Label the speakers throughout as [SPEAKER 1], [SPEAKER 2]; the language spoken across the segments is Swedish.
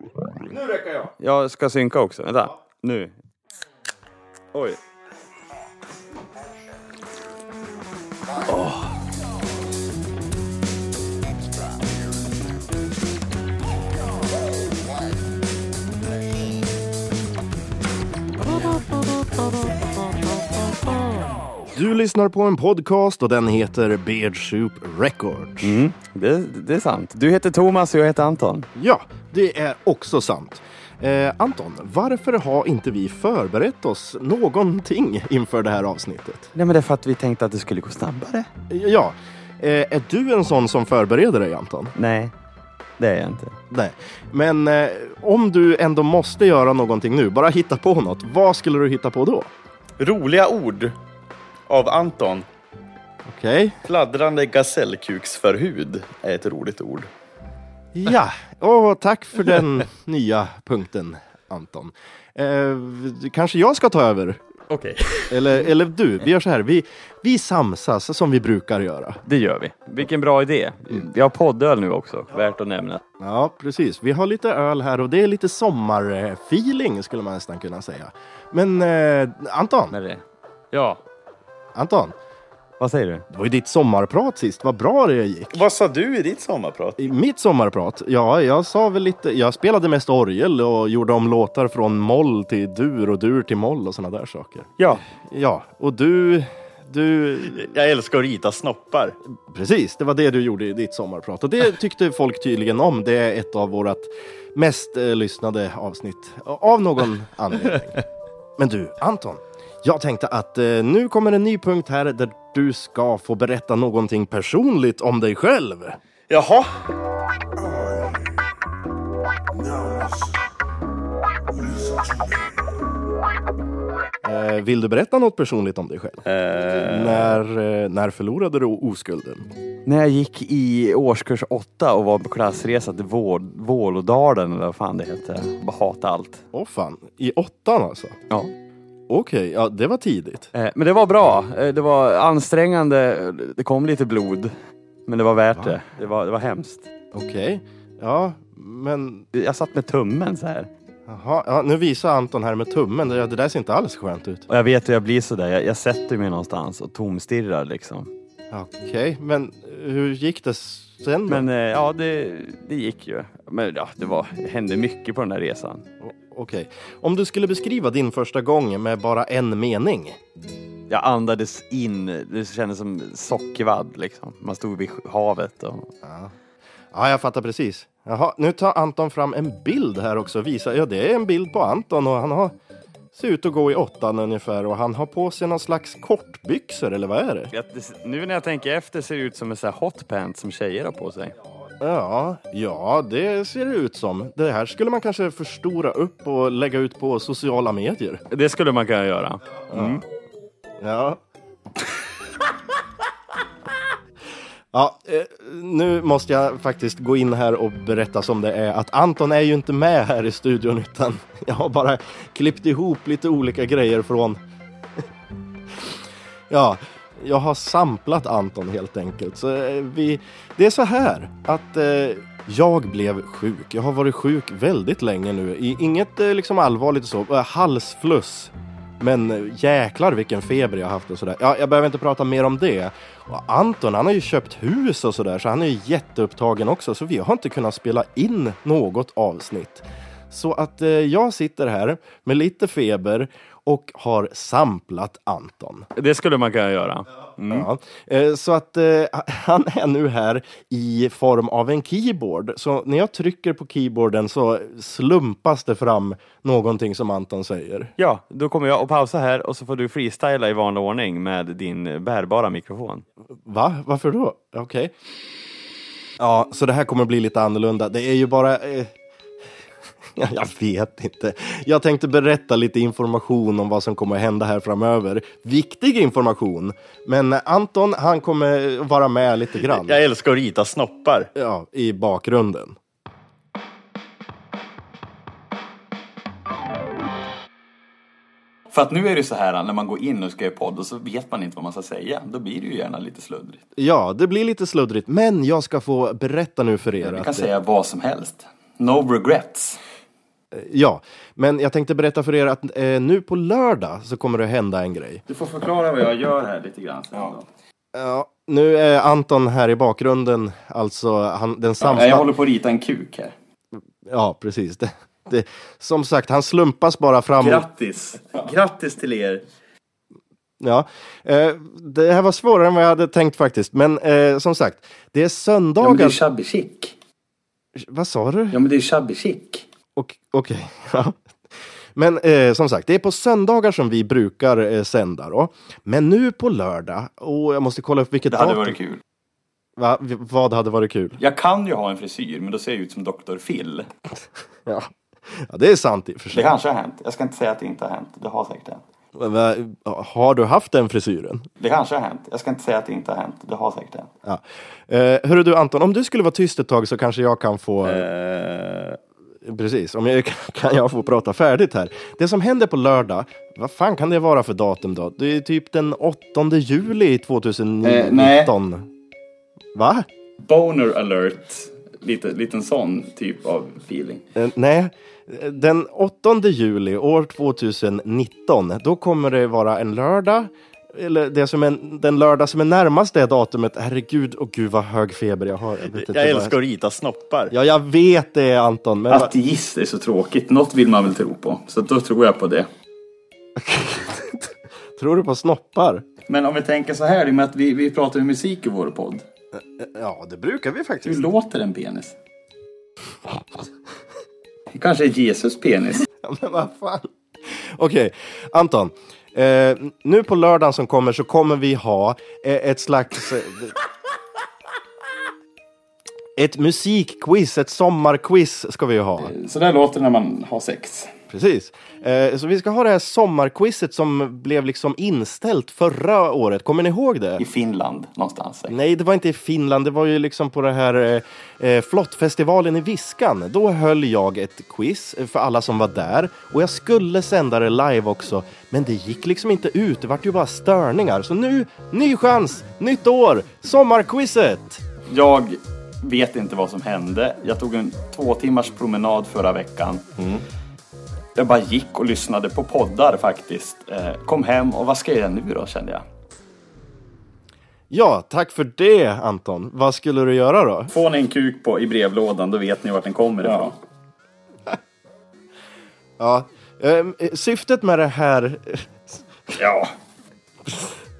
[SPEAKER 1] igång.
[SPEAKER 2] Nu räcker jag.
[SPEAKER 1] Jag ska synka också. Vänta. Nu. Oj.
[SPEAKER 3] Du lyssnar på en podcast och den heter Beard Soup Records.
[SPEAKER 1] Mm, det, det är sant. Du heter Thomas och jag heter Anton.
[SPEAKER 3] Ja, det är också sant. Eh, Anton, varför har inte vi förberett oss någonting inför det här avsnittet?
[SPEAKER 1] Nej men det är för att vi tänkte att det skulle gå snabbare.
[SPEAKER 3] Ja, eh, är du en sån som förbereder dig Anton?
[SPEAKER 1] Nej, det är jag inte.
[SPEAKER 3] Nej. Men eh, om du ändå måste göra någonting nu, bara hitta på något. Vad skulle du hitta på då?
[SPEAKER 2] Roliga ord av Anton.
[SPEAKER 3] Okej.
[SPEAKER 2] Fladdrande gasellkuksförhud är ett roligt ord.
[SPEAKER 3] Ja, Åh, tack för den nya punkten Anton. Eh, kanske jag ska ta över?
[SPEAKER 2] Okej.
[SPEAKER 3] Eller, eller du, vi gör så här. Vi, vi samsas som vi brukar göra.
[SPEAKER 1] Det gör vi. Vilken bra idé. Vi har poddöl nu också, värt att nämna.
[SPEAKER 3] Ja, precis. Vi har lite öl här och det är lite sommarfeeling skulle man nästan kunna säga. Men eh, Anton,
[SPEAKER 1] Eller, ja,
[SPEAKER 3] Anton,
[SPEAKER 1] vad säger du?
[SPEAKER 3] det var ju ditt sommarprat sist. Vad bra det gick.
[SPEAKER 2] Vad sa du i ditt sommarprat?
[SPEAKER 3] I mitt sommarprat, ja, jag sa väl lite. Jag spelade mest orgel och gjorde om låtar från moll till dur och dur till moll och sådana där saker.
[SPEAKER 1] Ja.
[SPEAKER 3] Ja, och du, du,
[SPEAKER 2] Jag älskar att rita snoppar.
[SPEAKER 3] Precis, det var det du gjorde i ditt sommarprat. Och det tyckte folk tydligen om. Det är ett av vårat mest eh, lyssnade avsnitt. Av någon anledning. Men du, Anton. Jag tänkte att eh, nu kommer en ny punkt här där du ska få berätta någonting personligt om dig själv.
[SPEAKER 2] Jaha.
[SPEAKER 3] Eh, vill du berätta något personligt om dig själv?
[SPEAKER 2] Eh.
[SPEAKER 3] När, eh, när förlorade du oskulden?
[SPEAKER 1] När jag gick i årskurs åtta och var på klassresa till Vår, Vålådalen eller vad fan det hette. Bara hata allt.
[SPEAKER 3] Åh fan, i åttan alltså?
[SPEAKER 1] Ja.
[SPEAKER 3] Okej, ja det var tidigt.
[SPEAKER 1] Eh, Men det var bra. Eh, Det var ansträngande. Det kom lite blod. Men det var värt det. Det var, det var hemskt.
[SPEAKER 3] Okej, ja men
[SPEAKER 1] Jag satt med tummen så här.
[SPEAKER 3] Jaha, ja, nu visar Anton här med tummen. Det, det där ser inte alls skönt ut.
[SPEAKER 1] Och jag vet hur jag blir sådär. Jag, jag sätter mig någonstans och tomstirrar liksom.
[SPEAKER 3] Okej, men hur gick det sen då?
[SPEAKER 1] Men eh, ja, det, det gick ju. Men ja, det, var, det hände mycket på den här resan.
[SPEAKER 3] O- Okej. Om du skulle beskriva din första gång med bara en mening?
[SPEAKER 1] Jag andades in. Det kändes som sockervadd liksom. Man stod vid havet och...
[SPEAKER 3] Ja, jag fattar precis. Jaha, nu tar Anton fram en bild här också och visar. Ja, det är en bild på Anton och han har ser ut att gå i åttan ungefär och han har på sig någon slags kortbyxor eller vad är det?
[SPEAKER 1] Jag, det, nu när jag tänker efter ser det ut som en sån här hotpants som tjejer har på sig.
[SPEAKER 3] Ja, ja, det ser det ut som. Det här skulle man kanske förstora upp och lägga ut på sociala medier.
[SPEAKER 1] Det skulle man kunna göra.
[SPEAKER 3] Ja. Ja, eh, nu måste jag faktiskt gå in här och berätta som det är att Anton är ju inte med här i studion utan jag har bara klippt ihop lite olika grejer från... Ja, jag har samplat Anton helt enkelt. Så eh, vi... Det är så här att eh, jag blev sjuk. Jag har varit sjuk väldigt länge nu. I inget eh, liksom allvarligt så. Eh, halsfluss. Men eh, jäklar vilken feber jag har haft och sådär. Ja, jag behöver inte prata mer om det. Och Anton han har ju köpt hus och sådär så han är ju jätteupptagen också så vi har inte kunnat spela in något avsnitt. Så att eh, jag sitter här med lite feber och har samplat Anton.
[SPEAKER 1] Det skulle man kunna göra.
[SPEAKER 3] Ja. Eh, Så att eh, han är nu här i form av en keyboard. Så när jag trycker på keyboarden så slumpas det fram någonting som Anton säger.
[SPEAKER 1] Ja, då kommer jag att pausa här och så får du freestyla i vanlig ordning med din bärbara mikrofon.
[SPEAKER 3] Va? Varför då? Okej. Ja, så det här kommer bli lite annorlunda. Det är ju bara... Eh... ja, Jag vet inte. Jag tänkte berätta lite information om vad som kommer hända här framöver. Viktig information! Men eh, Anton, han kommer vara med lite grann.
[SPEAKER 2] Jag älskar att rita snoppar.
[SPEAKER 3] Ja, i bakgrunden.
[SPEAKER 4] För att nu är det så här när man går in och ska göra podd och så vet man inte vad man ska säga. Då blir det ju gärna lite sluddrigt.
[SPEAKER 3] Ja, det blir lite sluddrigt, men jag ska få berätta nu för er
[SPEAKER 4] Jag
[SPEAKER 3] att...
[SPEAKER 4] kan säga vad som helst. No regrets.
[SPEAKER 3] Eh, Ja, men jag tänkte berätta för er att eh, nu på lördag så kommer det hända en grej.
[SPEAKER 1] Du får förklara vad jag gör här lite grann sen. då.
[SPEAKER 3] Ja, nu är Anton här i bakgrunden, alltså han, den
[SPEAKER 1] Ja,
[SPEAKER 3] samsla...
[SPEAKER 1] jag håller på att rita en kuk här.
[SPEAKER 3] Ja, precis. Det, det, som sagt, han slumpas bara fram.
[SPEAKER 2] Grattis! Grattis till er!
[SPEAKER 3] Ja, eh, det här var svårare än vad jag hade tänkt faktiskt. Men eh, som sagt, det
[SPEAKER 1] Ja, men det
[SPEAKER 3] är
[SPEAKER 1] är
[SPEAKER 3] söndagar.
[SPEAKER 1] shabby chic.
[SPEAKER 3] Vad sa du?
[SPEAKER 1] Ja, men det är shabby chic.
[SPEAKER 3] Och- Okej. ja. Men eh, som sagt, det är på söndagar som vi brukar eh, sända då. Men nu på lördag, och jag måste kolla upp vilket
[SPEAKER 1] Det hade
[SPEAKER 3] datum-
[SPEAKER 1] varit kul.
[SPEAKER 3] Va? V- Vad hade varit kul?
[SPEAKER 1] Jag kan ju ha en frisyr, men då ser jag ut som Dr. Phil.
[SPEAKER 3] Ja. ja, det är sant i och för
[SPEAKER 1] Det
[SPEAKER 3] sig.
[SPEAKER 1] kanske har hänt. Jag ska inte säga att det inte har hänt. Det har säkert hänt.
[SPEAKER 3] Va- eh, Har du haft den frisyren?
[SPEAKER 1] Det kanske har hänt. Jag ska inte säga att det inte har hänt. Det har säkert hänt.
[SPEAKER 3] Ja. Eh, hörru du Anton, om du skulle vara tyst ett tag så kanske jag kan få...
[SPEAKER 2] Eh,
[SPEAKER 3] Precis, om jag, kan jag få prata färdigt här. Det som händer på lördag, vad fan kan det vara för datum då? Det är typ den 8 juli 2019.
[SPEAKER 1] Eh, nej.
[SPEAKER 3] Va?
[SPEAKER 1] Boner alert. Lite, liten sån typ av feeling.
[SPEAKER 3] Eh, nej. Eh, Den 8 juli år 2019, då kommer det vara en lördag. Eller det som är, den lördag som är närmast det datumet. Herregud, och gud vad hög feber jag har. vet inte vad
[SPEAKER 2] jag älskar att rita snoppar.
[SPEAKER 3] Ja, jag vet det Anton. Men vad-
[SPEAKER 1] Ateist är så tråkigt. Något vill man väl tro på. Så då tror jag på det.
[SPEAKER 3] tror du på snoppar?
[SPEAKER 1] Men om vi tänker så här, i och med att vi, vi pratar ju musik i vår podd.
[SPEAKER 3] Ja, det brukar vi faktiskt.
[SPEAKER 1] Hur låter en penis? Det kanske är Jesus penis.
[SPEAKER 3] Ja, men vad fan. Okej, Anton. Eh, nu på lördagen som kommer så kommer vi ha eh, ett slags... Eh, ett musikquiz, ett sommarquiz ska vi ju ha.
[SPEAKER 1] Så där låter det när man har sex.
[SPEAKER 3] Precis. Eh, så vi ska ha det här sommarquizet som blev liksom inställt förra året. Kommer ni ihåg det?
[SPEAKER 1] I Finland någonstans. säkert.
[SPEAKER 3] Nej, det var inte i Finland. Det var ju liksom på den här eh, eh, flottfestivalen i Viskan. Då höll jag ett quiz eh, för alla som var där. Och jag skulle sända det live också. Men det gick liksom inte ut. Det vart ju bara störningar. Så nu, ny chans, nytt år, sommarquizet!
[SPEAKER 1] Jag vet inte vad som hände. Jag tog en två timmars promenad förra veckan. Jag bara gick och lyssnade på poddar faktiskt. Eh, Kom hem och vad ska jag göra nu då kände jag.
[SPEAKER 3] Ja, tack för det Anton. Vad skulle du göra då?
[SPEAKER 1] Får ni en kuk på i brevlådan då vet ni vart den kommer ifrån.
[SPEAKER 3] Ja, ehm, eh, syftet med det här
[SPEAKER 1] Ja.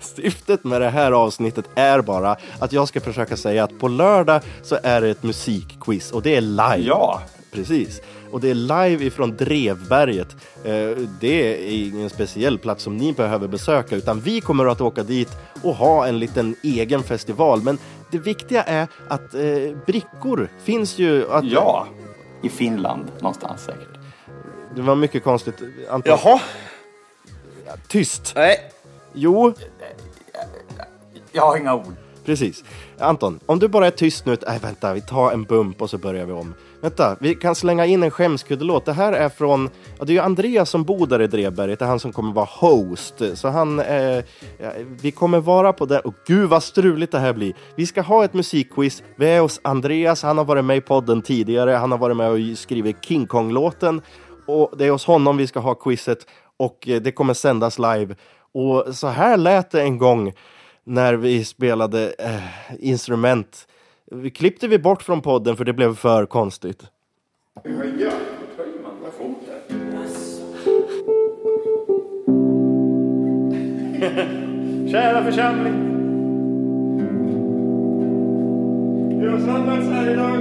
[SPEAKER 3] Syftet med det här avsnittet är bara att jag ska försöka säga att på lördag så är det ett musikquiz och det är live.
[SPEAKER 1] Ja.
[SPEAKER 3] Precis. Och det är live ifrån Drevberget. Eh, Det är ingen speciell plats som ni behöver besöka utan vi kommer att åka dit och ha en liten egen festival. Men det viktiga är att eh, brickor finns ju. Att,
[SPEAKER 1] Ja. I Finland någonstans säkert.
[SPEAKER 3] Det var mycket konstigt. Anton,
[SPEAKER 2] Jaha,
[SPEAKER 3] Tyst!
[SPEAKER 2] nej.
[SPEAKER 3] Jo,
[SPEAKER 1] Jag har inga ord.
[SPEAKER 3] Precis. Anton, om du bara är tyst nu. Nej, vänta, vi tar en bump och så börjar vi om. Vänta, vi kan slänga in en skämskuddelåt. Det här är från... Ja, det är ju Andreas som bor där i Drevberget. Det är han som kommer vara host. Så han... Eh, ja, vi kommer vara på det. Och gud vad struligt det här blir. Vi ska ha ett musikquiz. Vi är hos Andreas. Han har varit med i podden tidigare. Han har varit med och skrivit King Kong-låten. Och det är hos honom vi ska ha quizet. Och eh, det kommer sändas live. Och så här lät det en gång när vi spelade eh, instrument. Vi klippte vi bort från podden för det blev för konstigt.
[SPEAKER 5] Kära församling. Vi har samlats här idag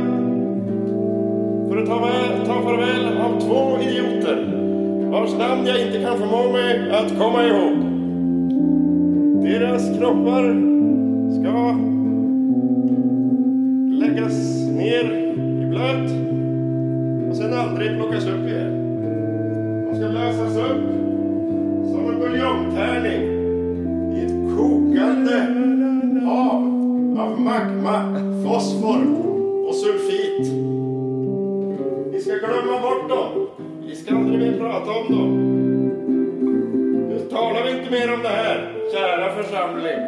[SPEAKER 5] för att ta, väl, ta farväl av två idioter vars namn jag inte kan förmå mig att komma ihåg. Deras kroppar ska läggas ner i blöt och sen aldrig plockas upp igen. De ska lösas upp som en buljongtärning i ett kokande hav av magma, fosfor och sulfit. Vi ska glömma bort dem. Vi ska aldrig mer prata om dem. Nu talar vi inte mer om det här, kära församling.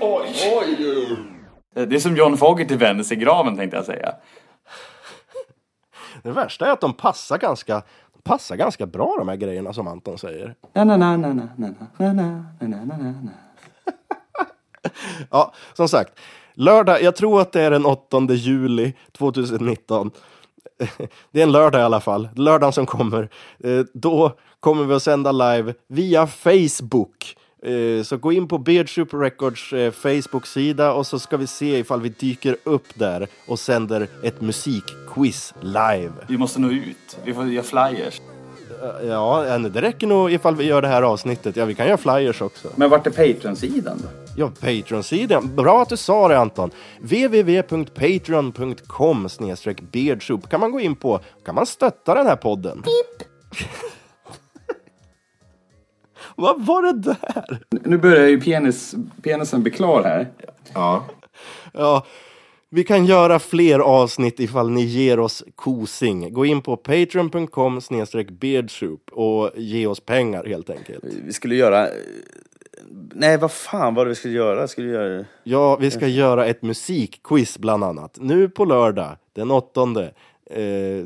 [SPEAKER 5] Oj, oj, oj.
[SPEAKER 1] Det är som John Fogerty vänder sig i graven tänkte jag säga.
[SPEAKER 3] Det värsta är att de passar ganska, de passar ganska bra de här grejerna som Anton säger.
[SPEAKER 1] Na, na, na, na, na, na, na, na, na, na, na, na.
[SPEAKER 3] Ja, som sagt. Lördag, jag tror att det är den 8 juli 2019. Det är en lördag i alla fall. Lördagen som kommer. Eh, Då kommer vi att sända live via Facebook. Eh, Så gå in på Beard Soup Records eh, Facebook-sida och så ska vi se ifall vi dyker upp där och sänder ett musikquiz live.
[SPEAKER 1] Vi måste nå ut. Vi får göra flyers.
[SPEAKER 3] Ja, eh, det räcker nog ifall vi gör det här avsnittet. Ja, vi kan göra flyers också.
[SPEAKER 1] Men vart är Patreon-sidan då?
[SPEAKER 3] Ja, Patreon-sidan. Bra att du sa det Anton. www.patreon.com beardsoup kan man gå in på. kan man stötta den här podden. Vad var det där?
[SPEAKER 1] Nu börjar ju penis, penisen bli klar här.
[SPEAKER 3] Ja, vi kan göra fler avsnitt ifall ni ger oss kosing. Gå in på patreon.com beardsoup och ge oss pengar helt enkelt.
[SPEAKER 2] Vi skulle göra... Nej, vad fan var det vi skulle göra? Skulle vi göra...
[SPEAKER 3] Ja, vi ska göra ett musikquiz bland annat. Nu på lördag, den åttonde. Eh,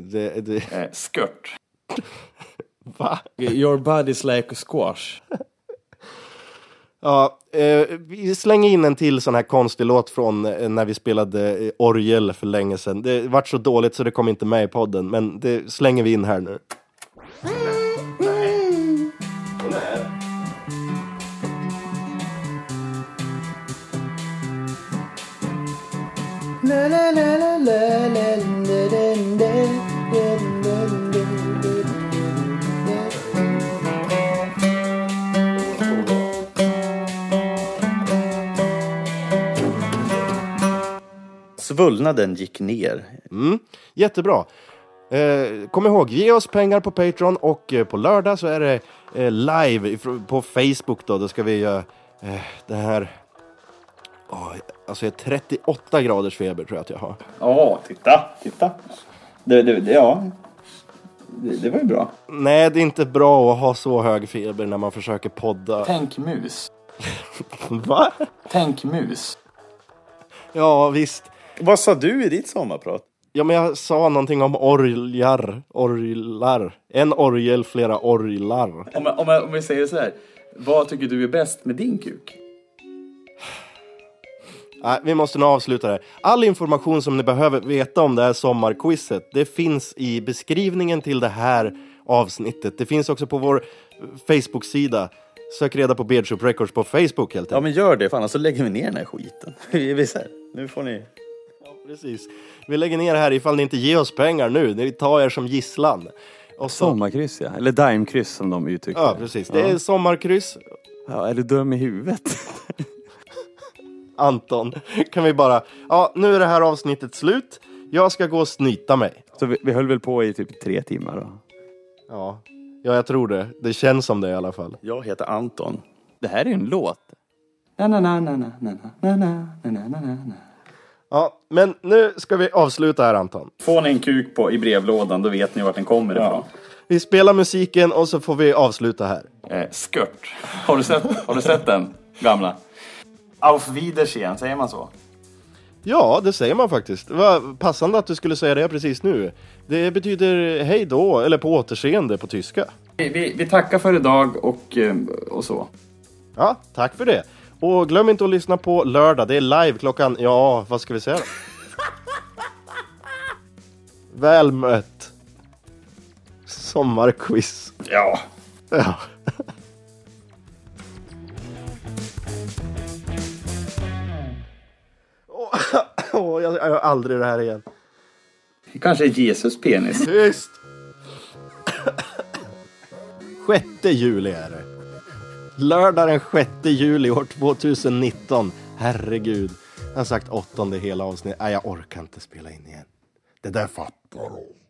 [SPEAKER 3] det, det,
[SPEAKER 1] Eh, skört.
[SPEAKER 3] va?
[SPEAKER 6] Your body's like a squash.
[SPEAKER 3] Ja, eh, vi slänger in en till sån här konstig låt från eh, när vi spelade eh, orgel för länge sedan. Det vart så dåligt så det kom inte med i podden, men det slänger vi in här nu.
[SPEAKER 2] Svullnaden gick ner.
[SPEAKER 3] Jättebra. Eh, kom ihåg, ge oss pengar på Patreon och eh, på lördag så är det eh, live ifr- på Facebook då. Då ska vi göra eh, det här. Åh, alltså jag är 38 graders feber tror jag att jag har.
[SPEAKER 1] Ja, titta, titta. Det, det, det, ja. Det, det var ju bra.
[SPEAKER 3] Nej, det är inte bra att ha så hög feber när man försöker podda.
[SPEAKER 1] Tänk mus.
[SPEAKER 3] Va?
[SPEAKER 1] Tänk mus.
[SPEAKER 3] Ja, visst.
[SPEAKER 2] Vad sa du i ditt sommarprat?
[SPEAKER 3] Ja, men jag sa någonting om orglar. Orglar. En orgel, flera orglar.
[SPEAKER 1] Om, om, om vi säger så här. Vad tycker du är bäst med din kuk?
[SPEAKER 3] Nej, vi måste nu avsluta det här. All information som ni behöver veta om det här sommarquizet, det finns i beskrivningen till det här avsnittet. Det finns också på vår eh, Facebook-sida. Sök reda på Beardshop Records på Facebook helt enkelt.
[SPEAKER 2] Ja, men gör det, för
[SPEAKER 1] alltså,
[SPEAKER 2] annars så lägger vi ner den här skiten. Vi vi är så här, nu får ni...
[SPEAKER 3] Precis. Vi lägger ner det här ifall ni inte ger oss pengar nu. Ni tar er som gisslan. Och så...
[SPEAKER 6] Sommarkryss ja, eller daimkryss som de uttryckte
[SPEAKER 3] Ja, precis. Det är sommarkryss.
[SPEAKER 6] ja, Är du dum i huvudet?
[SPEAKER 3] Anton, kan vi bara... Ja, nu är det här avsnittet slut. Jag ska gå och snyta mig.
[SPEAKER 6] Så vi, vi höll väl på i typ tre timmar då.
[SPEAKER 3] Ja, ja jag tror det. Det känns som det i alla fall.
[SPEAKER 2] Jag heter Anton.
[SPEAKER 6] Det här är ju en låt.
[SPEAKER 1] Na, na, na, na, na, na, na, na, na, na, na, na, na.
[SPEAKER 3] Ja, men nu ska vi avsluta här Anton.
[SPEAKER 1] Får ni en kuk på i brevlådan, då vet ni vart den kommer ifrån.
[SPEAKER 3] Vi spelar musiken och så får vi avsluta här.
[SPEAKER 1] Eh, skört. Har du, sett, har du sett den gamla? Auf Wiedersehen, säger man så?
[SPEAKER 3] Ja, det säger man faktiskt. Vad passande att du skulle säga det precis nu. Det betyder hej då, eller på återseende på tyska.
[SPEAKER 1] Vi, vi, vi tackar för idag och, eh, och så.
[SPEAKER 3] Ja, tack för det. Och glöm inte att lyssna på lördag. Det är live klockan, ja, vad ska vi säga då? Väl mött. Sommarquiz.
[SPEAKER 1] Ja.
[SPEAKER 3] Ja. Åh, åh, jag jag gör aldrig det här igen.
[SPEAKER 1] Kanske Jesus penis.
[SPEAKER 3] Tyst! 6 juli är det. Lördag den 6 juli år 2019. Herregud. Jag har sagt åttonde hela avsnittet. Nej, jag orkar inte spela in igen. Det där fattar du.